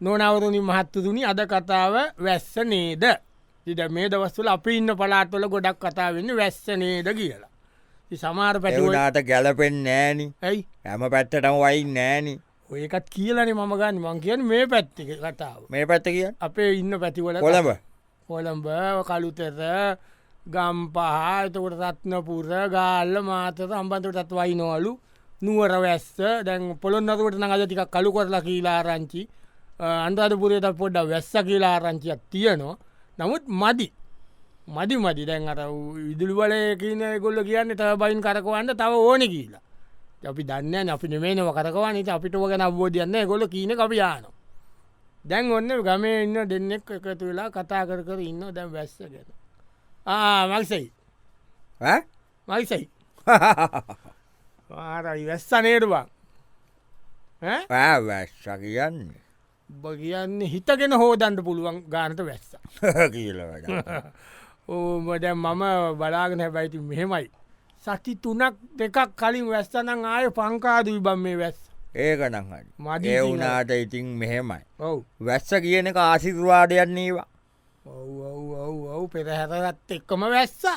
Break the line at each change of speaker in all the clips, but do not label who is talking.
නොනවරුණි මහත්තුරුණි අද කතාව වැස්ස නේද ඉට මේ දවස්සල අපි ඉන්න පලාත්වල ගොඩක් කතාවෙන්න වැස්ස නේද කියලා ඉතින් සමහර පැටුවට
එවනාට ගැලපෙන් නෑනි
ඇයි
හැම පැත්තටම වයි නෑනි
ඒකත් කියලනේ මමගන්න මං කියන මේ පැත්තික කතාව
මේ පැත්ත කිය
අපේ ඉන්න පැතිවල
කොළඹ
කොළඹ කළුතෙර ගම්පහ එතකොට රත්නපුර ගාල්ල මාතර අම්බන්තුටත් වයිනවලු නුවර වැස්ස දැන් පොළොන්නකට නඟද ටික කළු කරලා කියීලාරංචි අන්තධපුරයට පොඩ්ඩ වැස්ස කියලාරංචියක් තියෙනවා නමුත් මදි මදි මදි දැන් අර ඉදිළුවල කියන ගොල්ල කියන්න තව බයින් කරකවන්න තව ඕන කියලා අපි දන්න අපි නිමේනව කරකවන අපිටුව ගැන අබෝධයන්න ගොල කියන කපියානවා දැන් ඔන්න ගමේ ඉන්න දෙන්නෙක් එකතු වෙලා කතා කර කර ඉන්න දැම් වැස්ස ගැන මල්සයි
ඈ?
මල්සයි ආරයි වැස්ස නේරුවන්
ඈ, වැස්ස කියන්න
බ කියන්නේ හිතගෙන හෝදන්ට පුළුවන් ගානට වැස්ස
කියලවට
ඕමට මම බලාගෙන හැබැයිති මෙහෙමයි සති තුනක් දෙකක් කලින් වැස්සනං ආය පංකාදී බම් මේ වැස්ස
ඒක නහට
මදි
ඒ
ඉතින්
වුනාට ඉතින් මෙහෙමයි
ඔව්
වැස්ස කියන එක ආසිරවාඩයන්නේවා
ඔව් ඔව් ඔව් ඔව් පෙරහැරත් එක්කම වැස්සා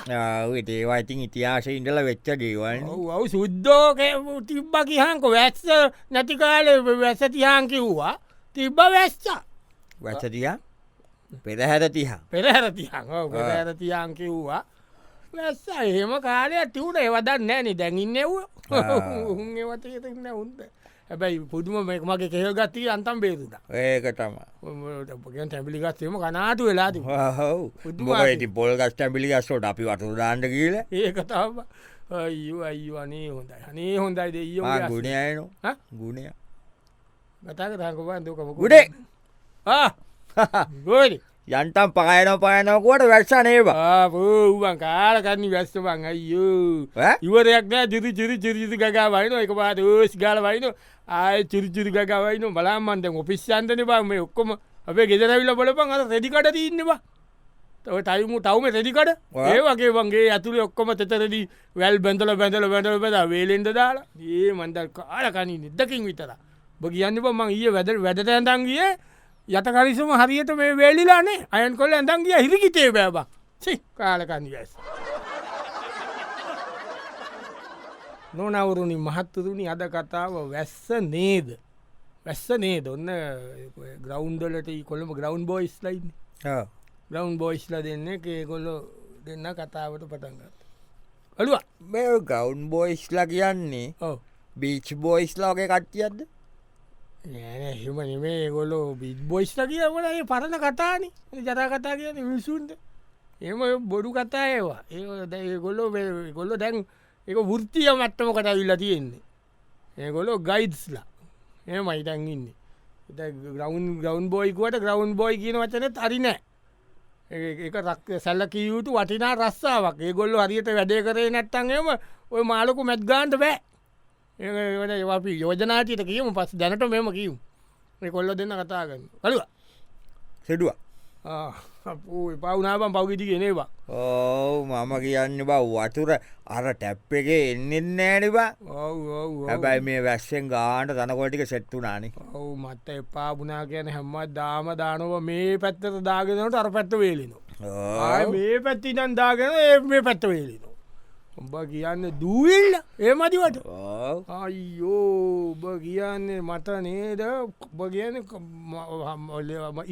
ඒවා ඉතින් ඉතිහාස ඉඳල වෙච්ච දේවල්
ඔව සුද්දෝක තිබ්බ කියහන්ක වැස්ස නැතිකාල වැස තියන් කිව්වා තිබ්බ වැස්සා
වැසතිය පෙරහැර තිහා
පෙරහැරතියන් පෙරහැරතියන් කිව්වා වැස්ස එහෙම කාලය තිවුට ඒවදන්න නෑන දැඟින්න එව්ව
ආ.
උන්වතන්න උන්ද හැබැයි පුදුම මේ මගේ කෙල් ගත්තී අන්තම් බේරුද
ඒක තම
තැපිලිගත්වීම කනාතු වෙලාති
හව
බුද්ධ
මොකයිති පොල් ගස්ටැපිලි ගස්සෝට අපි වටුදාන්ට කියල
ඒකතාව අයිෝ අයිෝ අනේ හොඳයි අනේ හොඳයි දෙයෝ
ගුණයන
ඈ?
ගුණය
ගතක තකබන් දකම
ගුඩේ
ගොඩි
යන්තම් පයන පයනකුවට වැක්ෂ නේවා
ආපූවන් කාලකන්න වැස්සවන් අයෝ
ඈ?
ඉවරයක් නෑ ජිරි චිරි චිරිසි ගවයින එක පාට ඕස් ගල වයින ආය චිරිචිරි ගවයින බලාමන්ද ඔපිස්්‍යන්තන බම ඔක්කොම අපේ ගෙදරවිල බලපන් අර රෙඩිකට තින්නවා තව ටයිමු තවම රෙඩිකට
ඔව්.
ඒ වගේ වන්ගේ ඇතුළ ඔක්කොම තෙතරදී වැල් බැඳල බැඳල බැඳල බැද වේලෙන්ද දාලා ඒ මන්දල් කාලකනී නිදකින් විතර බ කියන්න මං ඒ වැදල් වැදට ඇඳන්ගිය යතකරිසම හරියට මේ වේලිලානේ අයන් කොල්ල ඇඳන්ගිය හිරිකිතේ බෑබ සි කාලකනී ඇස් නොනවරුණි මහත්තුරුණි අද කතාව වැස්ස නේද වැස්ස නේද ඔන්න ග්‍රවන්්ඩලට කොළම ග්‍රවන්් බෝයිස් ලයින්න ග්‍රවන්් බෝයිස්ල දෙන්න ඒකොල්ල දෙන්න කතාවට පටන්ගත් අඩුව
මේ ගෞන්් බෝයිස්ල කියන්නේ
ඕ
බීච් බෝයිස්ලාගේ කට්ටියද
එහෙම නෙමේ ගොලෝ බිත් බොයිස්ල කියවලගේ පරණ කතාන ජතා කතා කියන විසුන්ද එම බොඩු කතා ඒවා ඒ ගොල්ලෝ ගොල්ලො දැන් එක වෘත්තිය මට්ටම කටවිල්ලා තියෙන්නේ ඒගොලෝ ගයිඩ්ස්ලා ඒ මයිටන් ඉන්න ග්‍රවන්් ග්‍රවන්් බෝයිකුවට ග්‍රවන්් බෝයි කියන වචන අරිනෑ ඒ- ඒක රක් සැල්ලකිය යුතු වටිනා රස්සාාවක් ඒගොල්ලො හරියට වැඩේ කරේ නැත්තන්ගම ඔය මාලොකු මැත්්ගාන්ට බෑ ඒට අපි යෝජනාටයට කියීම පස් දැනට මෙම කියීම මේ කොල්ල දෙන්න කතාගන්න කළුව
සිඩුව
පවුනාවන් පවගිටි කෙනවා
ඕ මම කියන්න බව වතුර අර ටැප් එක එන්නෙන් නෑනවා හැබැයි මේ වැස්සෙන් ගාන්ට තනකොටික සෙට්ටුනානි
ඔවු මත්ත එපාපුනා කියන හැම්ම දාම දානව මේ පැත්තට දාගෙනට අර පැත්ත වේලිනවා ආය මේ පැත්ති ඉඩන් දාගෙන ඒ මේ පැත්ත වේලිනවා උඹ කියන්න දූවිල්ල ඒ මදිවට අයියෝ ඔබ කියන්නේ මට නේද ඔබ කියන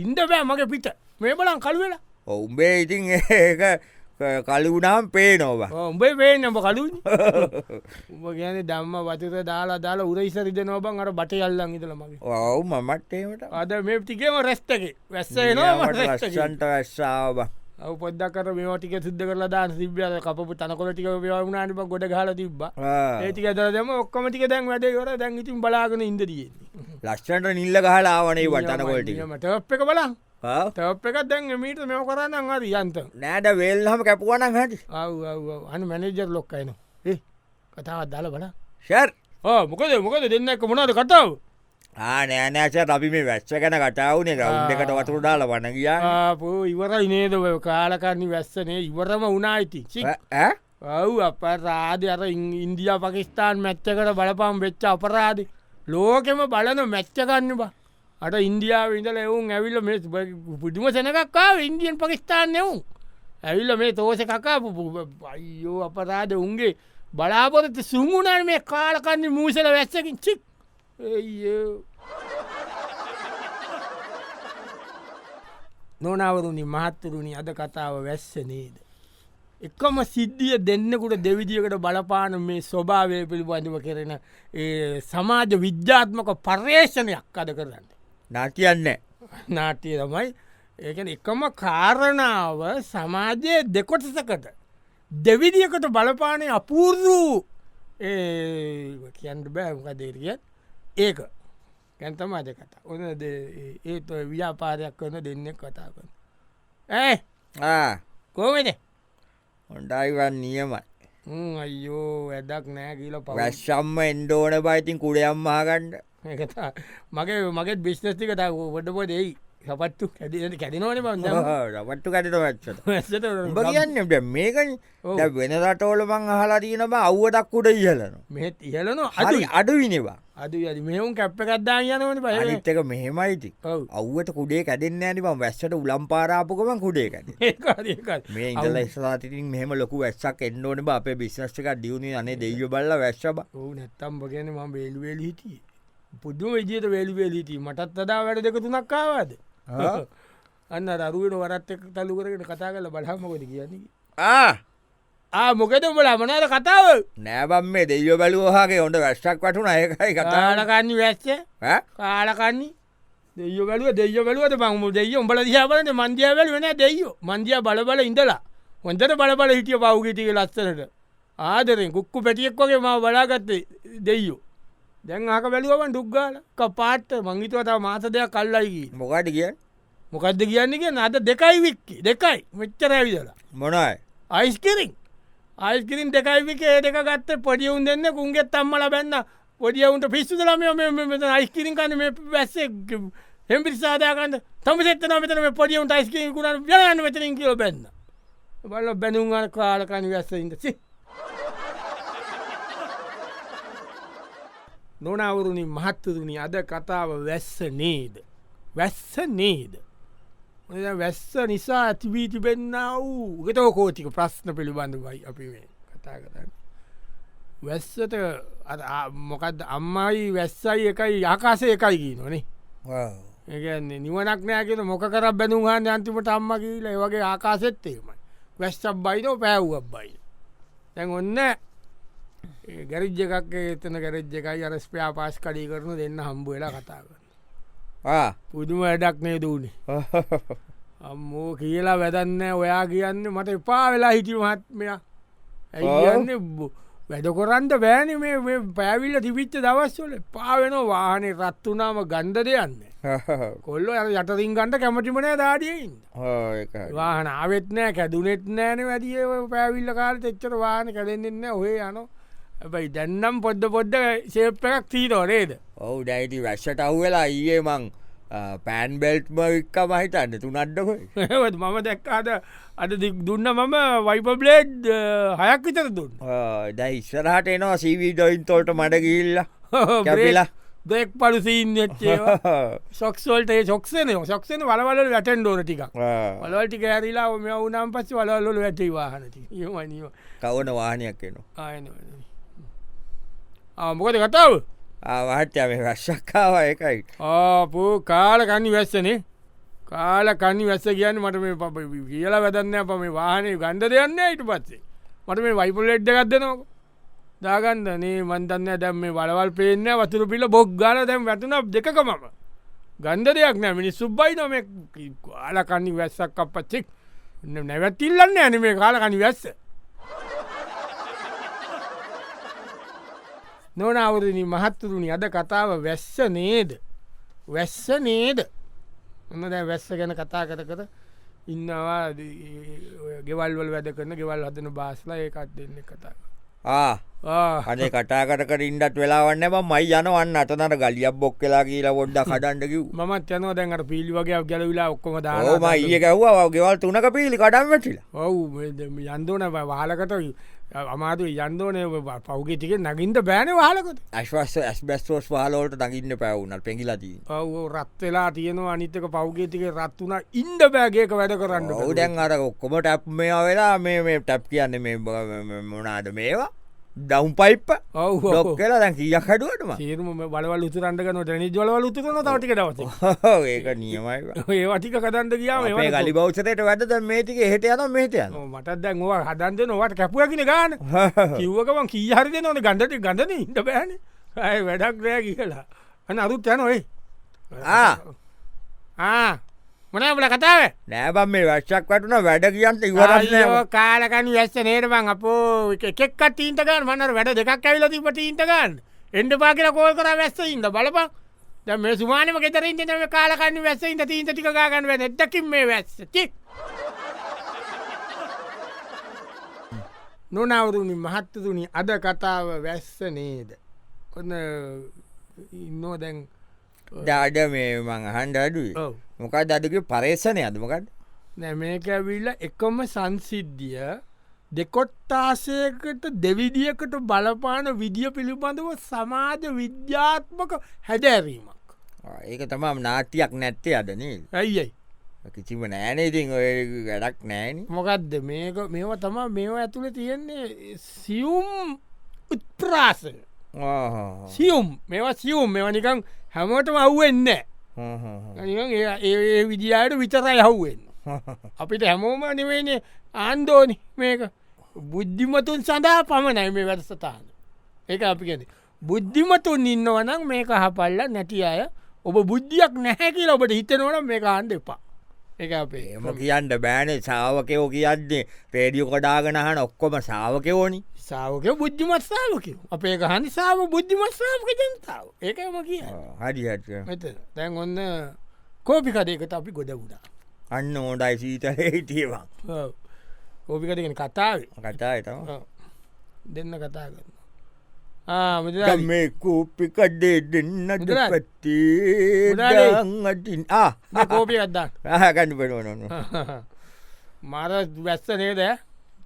ඉන්ද බෑ මගේ පිට මේ බලන් කළුවෙලා
ඔවුම්බේ ඉතින් ඒක කලිවුනාම් පේ නොවා
උඹේ වේනම කලුන් උඹ කියන දම්ම වතත දාලා දාලා උර ඉසරිද නොබන් අර බට යල්ලන් ඉදල මගේ
ඔවු මමට ඒමට
අද මේ ටිකේම රැස්ටගේ වැස්සේනවා
ලස්සන්ට වැස්සාාව
අව පොද්දක් කර මේ ටික සිද්ධ කරලා දාන සිබ්ියල කපපු තනකොල ටික වුණනාට ගොඩ ගල තිබ ඒටික දරම ඔක්කම ටික දැන් වැඩේ කර දැන් ඉතින් බලාගෙන ඉද දියෙන්නේ
ලක්ෂන්ට නිල්ල ගහලාවනේ වටනකොල්ටි
ටප් එක බලන් තප් එකක් දැන් මීට මෙම කරන්න අද යන්ත
නෑඩ වෙල්හම කැපුවනක් හට
අන මැනජර් ලොක්කයින ඒ කතාවත් දාල බලා
ශර්
ඕ මොකද මොකද දෙන්න එක මොනාද කතාව
ආනෑනෑසත් අපි මේ වැස්ස ගැන කටාවනේ රවුන්් එකට වතුර දාල වන කියා
ආපු ඉවරයි නේද ඔය කාලකරණි වැස්සනේ ඉවරම උනායිති ඔව් අප රාධ අර ඉන්- ඉන්දියා පකිස්ාන් මැච්චකට බලපම් වෙච්ච අපරාධ ලෝකෙම බලන මැච්චකන්න බා අට ඉන්දියාව ඉඳල එවුන් ඇවිල්ල මේ පුඩිම සෙනකක්කාව ඉන්දියන් පකිස්ථාන්න එවුන් ඇවිල්ල මේ තෝස කකාපු අයෝ අපරාද උන්ගේ බලාපොරත සුමුණන් මේ කාලකන්නේ මූසල වැස්සකින් චික් නොනවරුණි මහත්තුරුණි අද කතාව වැස්ස නේද. එකම සිද්ධිය දෙන්නෙකුට දෙවිදිියකට බලපාන මේ ස්වභාවය පිළිබඳව කරෙන ඒ සමාජ විද්‍යාත්මක පර්යේෂණයක් අද කරන්න.
නාතියන්න
නාට්‍යය තමයි ඒක එකම කාරණාව සමාජය දෙකොටසකට දෙවිදිියකට බලපානය අපූර්රූ කියන්න බෑමකදේරිය ඒක කැන්තම අද කතා ඔන්න ඒත් ව්‍යාපාරයක් කරන දෙන්නෙක් කතා කරන ඇ කෝමද
හොන්ඩයිවන් නියමයි
අයෝ වැඩක් නෑ කියල පවස්
වැශ්ෂම්ම එන්ඩෝන බයිතින් කුඩයම්මාගණ්ඩ
මගේ මගේ බිශ්නස්තික ගොඩපො දෙයි සපත්තු කැඩ කැඩිනවන බන්න
රවට්ටු කටට වැච්චත උඹ කියන්නට මේකන්
ඔව්.
වෙන රටෝල මං අහලාදීනම අව්වටක්කුට ඉහලන
මෙත් ඉහලනො අද
හරි අඩුවිනවා
අද මෙවුම් කැප්ප කද්දා යනවන පය
අනිත්තක මෙහෙමයිති
ඔව්.
අව්වට කුඩේ කැඩෙන්න්න ඇනිම වැස්සට උලම් පාරාපුකමන් කුඩේ කැඩ මේ ඉඳල ස්ලාතිින් මෙහම ලොකු වැස්සක් එන්නඕන අපේ බිශ්ෂක දියුණේ අනේ දෙව බල්ල වැශ්බ
ඔවු නැත්තම් බගන ම බේල්වේල හිටිය පුද්ම විජයට වේල්වේල හිටී මටත් අදා වැඩ දෙක තුනක්කාවාද
ආ.
අන්න දරුවට වරත් එක් තල්ලු කරගෙන කතා කල බලහමකොද කියන්නේ ආ මොකෙද උඹල මනාද කතාව
නෑබම් මේ දෙව බැලුවහගේ ඔොට වැස්සක් වටුන අයකයි කතා
කාලකන්නේ වැස්ස
ඈ?
කාලකන්නේ දෙය බැලුව දෙය බැලුවට බංම දෙය උඹල දිහාාවලට මන්දියාවැල වෙන දෙයෝ මන්දිය බලබල ඉඳලා හොඳට බලබල හිටිය පව්ගිටික ලස්සනට ආදරෙන් කුක්කු පැටියෙක් වගේ ම බලාගත්තේ දෙයෝ දැන් ආක බැලුවම දුක්ගාල පාට්ට මංගිතවතා මාස දෙයක් කල්ලයිගී
මොකට කිය
මොකක්ද කියන්නේ කිය අද දෙකයි වික්කි දෙකයි මෙච්චර ඇවිදලා
මොනයි
අයිස්කිරින් අයිස්කිරින් දෙකයිවික ඒක ගත්ත පොඩියවුන් දෙන්න කුන්ගෙත් අම්මල බැන්න පොඩියවුන්ට පිස්සුද ලම අයිස්කිරින් කන්න මේ වැස්ස හෙමිරි සාදාකන්න තම සෙත්තන මෙතන මේ පොඩියවුන්ට අයිස්කිරින් කුණ යන්න වෙතරින් කියල බැන්න බල බැනුම් අර කාලකන වැස්සඉද සි නොනවුරුණි මහත්තතුනි අද කතාව වැස්ස නේද වැස්ස නේද ඔය වැස්ස නිසා ඇතිවී තිබෙන්න්න වූ ගතව කෝතික ප්‍රශ්න පිළිබඳුවයි අපි මේ කතා කරන්න. වැස්සට අර ආ- මොකද අම්මයි වැස්සයි එකයි යකාසය එකයි ගී නොනේ ඒගන්නේ නිවනක් නෑගෙන මොක කර බැනුම් හන් අන්තිමට අම්ම කියීල වගේ ආකාසෙත්තේමයි වැස්සක් බයිතෝ පැව්වක් බයි තැන් ඔන්න ගැරිජ්ජ එකක් එතන ගැරජ් එකයි අර ස්පයා පාස් කඩී කරනු දෙන්න හම්බුවෙලා කතා කරන්න පුදුම වැඩක් නේ දූනේ අම්මෝ කියලා වැදන්න ඔයා කියන්න මට එපා වෙලා හිටි මහත්මය
ඔව්.
ඇන්න වැඩ කොරන්ට බෑන මේ පැවිල්ල තිබිච්ච දවස්වල පාවෙන වානේ රත්තුනාම ගන්ධ දෙයන්න කොල්ල යටරින් ගන්ට කැමටිමනෑ දාඩියයින්න වාහන ආවෙත්නෑ කැදුනෙත් නෑන වැඩිය පැවිල්ල කාලට එච්චර වාන කැලෙන්න්න ඔහේ යනු ඇැයි දැන්නම් පොද්ද පොද්ද ශේප්ප එකක් තීරෝරේද
ඔවු ඩයිති වැශ්ෂට අව්වෙලා ඊයේ මං පෑන් බෙල්ට්ම වික්ක මහිතන්න තුනඩ්ඩකොයි
ඒත් මම දැක්කාද අද දික් දුන්න මම වයිපබ්ලේඩ් හයක් විතර දුන්න
දැ ඉස්සරහට එනවා සීවිඩොයින් තොල්ට මඩ ගිල්ල
Oh,
කැපිලා.
දෙක් පලු සීන්නච්චේ සොක්සල්ට ොක්ෂන ොක්ෂන වලවල වැටන් ඩෝන ටික් වලවලටි කෑරලා ඔම උනම් පස්ස වලල්ලොල වැටේ වාහනති ඒමනිව
කවන වානයක් එනවා
ආයන මොකද කතාව
ආවාහත්‍ය මේ රශ්ෂක්කාව එකයි
ආපු කාල කනි වැස්සනේ කාල කනි වැස්ස කියන්න මට මේ ප කියලා වැදන්න අප මේ වාහනය ගණ්ඩ දෙයන්න ඊට පත්සේ මට මේ වයිපල් එඩ්ඩ ගත්දනක දාගන්දනේ මන්තන්න දැම් මේ වලවල් පේන්න වතුර පිල බොක් ගල දැම් වැටන දෙකකමම ගන්ධ දෙයක් නෑ මිනි සුබ්බයි නොම කාල කනි වැස්සක් අපච්චෙක් නැවැත්තිල්ලන්න ඇන මේ කාල කනි වැස්ස නොනවරණ මහත්තුරුණි අද කතාව වැස්ස නේද වැස්ස නේද ඔන්න දැ වැස්ස ගැන කතා කර කර ඉන්නවා ද- ඔය ගෙවල්වල වැඩ කරන ගෙවල් හදන බාස්ලා ඒකත් දෙන්න කතා
ආ
ආ,
අනේ කටාකටකට ඉන්ඩත් වෙලාවන්න එම මයි යනවන්න අතනට ගලියක් බොක් කලා කියලා ොඩ්ඩ කඩන්ඩකිව්
මමත් යන දැන්ට පිල්ි වගේ ගැලවිලා ඔක්කොම
ඕම
දාලා
ඒ ගැව්වා ගෙවල් තුනක පිලි කඩම් වැටිලා
ඔවු යන්දෝන වාලකට අමාතු යන්දෝනය පෞගේ තික නගින්ට බෑන වාලකොත
ඇශ්වස්ස ඇස් බැස්ෝස් වාලෝට නගින්න පැවුනල් පෙගිලදී
ඔව රත් වෙලා තියෙනවා අනිත්තක පෞගේ තික රත් වුණ ඉන්ඩ බෑගේක වැඩ කරන්න
ඔවුඩැන් අර ඔක්කොම ටැප් මේවා වෙලා මේ මේ ටැප් කියන්න මේ මොනාද මේවා ඩවම් පයිප්
ඔව් ඔව්.
ලොක් කලා දැන් කියක් හඩුවටම
තේරුම වලවල් උතුරන්ටක නොට නි ජොලවල් උතුරන තවටික දවස
ඒක නියමයි
ඒ වටික කදන්ද කියාව
මේ ගලි බෞෂතයට වැඩද මේටික හෙට යන මේට යන
මටත් දැන් ඕවා හදන්ද නොවට කැපුවකින ගාන කිව්වකමන් කීහරිද නොන ගණඩට ගඳන ඉට බෑන ඇය වැඩක් රෑ කියලා අන අරුත් යන ඔයි
ආ.
ආ මොනබල කතාව
නෑබම් මේ වැශ්ක් වටුන වැඩ කියන්ට ඉවරන්න
කාලකන වැස්ස නේරමං අපෝ එකෙක් තීන්ටකන් මනර වැඩ දෙකක් ඇවිල තිීම තීන්ටකන් එන්ඩ පා කියල කෝල් කර වැස්ස ඉන්න බලපන් දැන් මේ සුමානම ගෙතර ඉටනව කාලකන්න වැස්ස ඉට තීන්ට ටිකාගන්න වැ එදකින් මේ වැස්සචි නොනවරුණි මහත්තතුනි අද කතාව වැස්ස නේද ඔන්න ඉන්නෝ දැන්
ඩාඩ මේ මං හන්ඩ අඩුයි
ඔව
මොකක් දඩක පරේෂණය අදමකට
නෑ මේක ඇවිල්ල එකම සංසිද්ධිය දෙකොට්ටාසයකට දෙවිදිියකට බලපාන විදිිය පිළිබඳව සමාජ විද්‍යාත්මක හැදැරීමක්.
ඒක තමම් නාට්‍යයක් නැත්තේ අදනල්
ඇයියි.
කිසිම නෑනේතින් ඔය වැඩක් නෑන
මොකක්ද මේක මේවා තම මේවා ඇතුළ තියෙන්නේ සියුම් උත්ප්‍රාස සියුම් මේවා සියුම් මෙවා නිකං හැමටම අව්වෙන්න ඒ විදිහයට විතරයි හව්වෙන්න. අපිට හැමෝම නිවේනේ ආන්දෝනි මේක බුද්ධිමතුන් සඳහා පමණයි මේ වැඩසතාන ඒක අපි ගැන බුද්ධිමතුන් ඉන්නවනම් මේක හපල්ල නැති අය ඔබ බුද්ධියක් නැහැකි ඔබට හිතනවන මේ ආන්ද එපා ඒ අපේ
එම කියන්න බෑනේ සාාවකයෝ කියන්නේ පේඩිය කොඩාගෙනහන ඔක්කොම සාාවකයෝනි
සාාවක බුද්ධිමත්සාාවකිව අපේ ගහනි සාම බුද්ධිමත්සාාවක ජනතාව ඒකම කිය
හඩිහට
මෙත දැන් ඔන්න කෝපිකදයකට අපි ගොඩ ගුඩා
අන්න ඕඩයි සීත හිටියවා
කෝපිකටගෙන කතාවේ
කතා එතම
ඔව්. දෙන්න කතා කරන්න ආ මුදලාලි.
මේ කූපිකඩේ දෙන්නට
මුදලාලි.
පැත්ති
මුදලාලි.
දංගටින්
මේ කෝපිය අත්දා
රහකඩ පෙනුවනොන
මර වැස්ස නේද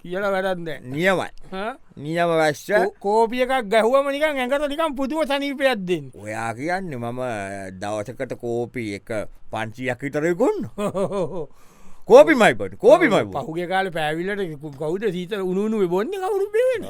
කියල වැඩන්ද
නියමයි නියම වැශ්්‍ය
කෝපිය එකක් ගැහුවම නිකන් ඇඟට නිකම් පුදුව සනීපයක් දෙන්න
ඔයා කියන්න මම දවසකට කෝපි එක පංචියක් විතරයකුන්න කෝපිමයිපට කෝපිමයි
පහුගේ කාල පැවිල්ලට කවුද සීත උනුණු බොන්න කවුරු පෙන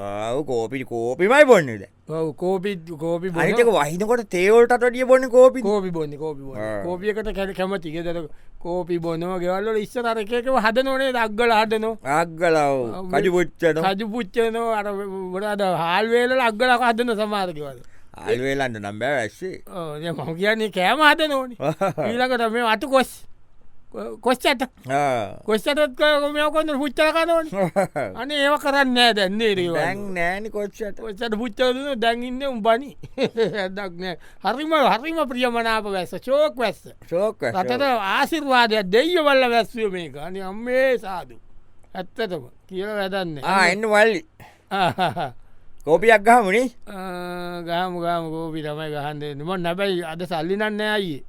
කෝපි කෝපිමයි බොන්නද
කෝපි කෝපි බොන-
අනික වහිනකොට තේවල්ටටිය බොන්න කෝපි
කෝපි බොන්න කෝපි බොන
ආ.
කෝපියකට කැල කැමති ගෙදර කෝපි බොනවා ගෙවල්ල ඉස්සර අරකකව හද නොනේ දක්ගල හදනවා
අක්ගලව්
ආ,
කඩි පුච්චන
රජු පුච්චනෝ අර ගොඩාද හල්වේල අක්ගලක හදන සමාරකවල
අල්වේලන්න නම් බෑ වැස්සේ
මම කියන්නේ කෑම හද නෝන ඊලකට මේ අතු කොස් කොස්්ච ඇත කොස්්චතත් මෙකොන්න පුච්චලක නොන අන ඒව කරන්න නෑ
දැන්
දැන්නේ
නෑනි කොච්චට
කොච්චට පුච්චදන දැන්ඉන්න උම්බනි ඇදක්නෑ හරිම හරිම ප්‍රියමනාප වැස්ස චෝක් වැස්ස
ශෝක
රටට ආසිර්වාදයක් දෙය වල්ල වැස්ව මේ අනි අම්මේ සාදු ඇත්තතම කියල වැදන්න
එන්න වල්ලි කෝපියක් ගහමනේ
ගාම ගාම ගෝපි තමයි ගහන්දේ නම නැබැයි අද සල්ලි නන්න අයියේ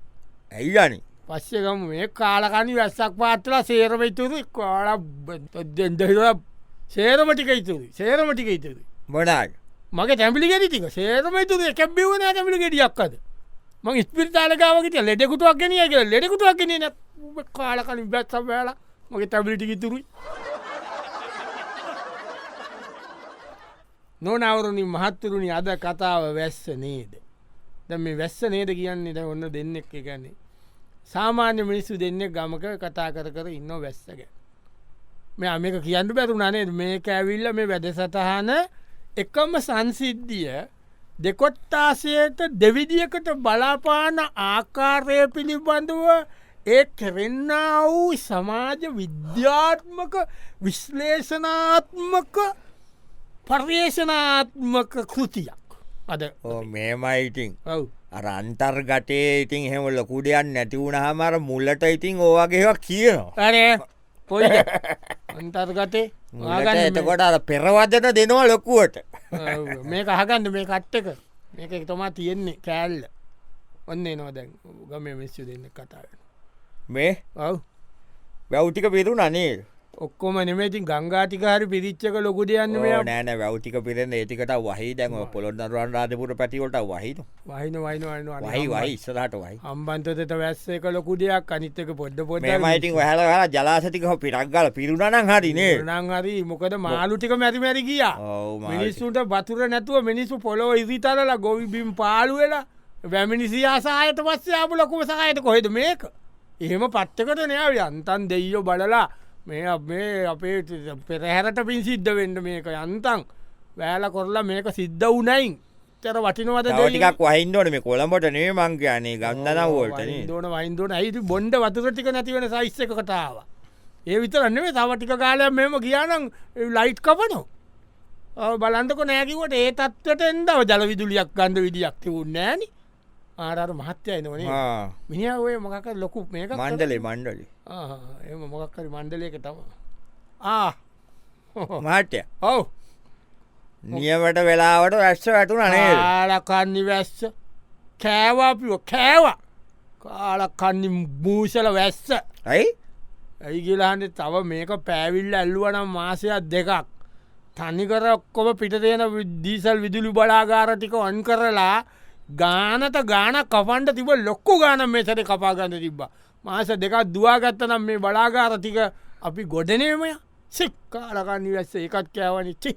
ඇයිගනි
පස්සෙකම මේ කාලකනි වැස්සක් පාත්තලා සේරම ඉතුරු කාල දෙදර සේරමටික ඉතුරු සේරමටික ඉතුරු
මොනාල්
මගේ තැපිි ගෙරි තික සේරම තුර කැබ්බිවන තැපිි ගෙඩියක්කද මං ස්පිරිතාලකාවකට ලෙඩෙකුටක් ගෙනිය කිය ලෙඩෙකුටක් ගෙන කාලකන බැත් සබයාල මගේ තැබිලිටික ඉතුරුයි නොනවරුණි මහත්තුරුණි අද කතාව වැස්ස නේද දැ මේ වැස්ස නේද කියන්නේ ද ඔන්න දෙන්නෙක් එකන්නේ සාමාන්‍ය මිනිස්සු දෙන්නෙක් ගමක කතා කර කර ඉන්න වැස්සක මේ අමක කියන්න බැරුණනේ මේ කැවිල්ල මේ වැදසටහන එකම සංසිද්ධිය දෙකොට්ටාසයට දෙවිදිියකට බලාපාන ආකාරය පිළිබඳව ඒ කෙරෙන්න වූ සමාජ විද්‍යාත්මක විශ්ලේෂනාත්මක පර්යේෂනාත්මක කෘතියක් අද
ඕ මේමයිඉතිං
ඔව්
අර අන්තර්ගතය ඉතින් හෙමල්ල කුඩියන් නැතිවුණ හමර මුල්ලට ඉතින් ඕවාගේවා කියනවා
අරේ පොයි අන්තර්ගතේ
මුලට එතකොට අර පෙරවදන දෙනවා ලොකුවට
මේ කහගන්න මේ කට්ටක මේක තමා තියෙන්නේ කෑල්ල ඔන්න එනවා දැන් ගම මිස්සු දෙන්න කතාවෙන
මේ
ඔව්
වැෞ්ටික පිරු නනේ
ඔක්කොම නෙමේතින් ගංගාටික හරි පිරිච්චක ලොකු දෙයන්න මෙයා
නෑන වැෞතික පිරෙන ඒතිකට වහහි දැන් පොළොන්නරුවන් රාධපුර පැතිකොට වහින
වහින වයින වන්න
වහි වයි ඉස්සරට වයි
අම්බන්තතට වැස්සේක ලොකු දෙයක් අනිත්තක පොඩ්ඩ පොඩ
මේමයිඉතින් හල හල ජලාසතිකහ පිරක්ගල පිරුණනං හරිනේ
නං හරි මොකද මාලුටික මැරිමැරි ගියා
ඔවු
මිනිස්සුන්ට බතුර නැතුව මිනිස්සු පොලොව ඉදිතරල ගොවිබිම් පාලු වෙලා වැමිනිසි ආසායට පස්සේ ආපු ලොකුම සහයට කොහෙද මේක එහෙම පත්තකට නෑ යන්තන් දෙයෝ බලලා මේ අප- මේ අපේ ත- පෙරහැරට පින් සිද්ධ වෙන්ඩ මේක යන්තන් වැෑල කොරලා මේක සිද්ධ වනයින් තර වටිනවද දෙයියෝ?
ටිකක් වහින්දෝන මේ කොළඹට නේ මංගයනේ ගන්දන වෝල්ටන
දෝන වයින්දෝන ඇයිති බොන්ඩ වතුරටික නැතිවෙන සයිස්ස එක කතාව ඒ විතරන්නේ තවටික කාලයක් මෙම කියානම් ලයිට් කපනෝ බලන්තක නෑකිවට ඒ තත්වට එන්දව ජලවිදුලියක් ගන්ධ විදිියක් තිවුණ නෑන ආරර මහත්‍යය නොනේ මිනි ඔය මොකක් ලොකු මේක
මණ්ඩලේ මණ්ඩලි
එම මොකක්කරි මණ්ඩලයක තම ආ
මාට්‍ය
ඔව
නියමට වෙලාවට රැස්ස වැටුන අනේ
කාලකන්නි වැස්ස කෑවාපිෝ කෑවා කාලකන්නි භූෂල වැස්ස
ඇයි
ඇයි කියලාන්ට තව මේක පැවිල්ල ඇල්ලුවනම් මාසයක් දෙකක් තනිකර ඔක්කොම පිටතියෙන විද්දීසල් විදුලි බලාගාර ටික ඔන් කරලා ගානත ගාන කපන්ට තිබ ලොක්කු ගාන මෙසට කපාගන්න තිබ්බ මාස දෙකක් දවාගත්තනම් මේ බලාගාර ටික අපි ගොඩනේමය සික්කාලකන්න වැස්ස එකත් කෑවනි චික්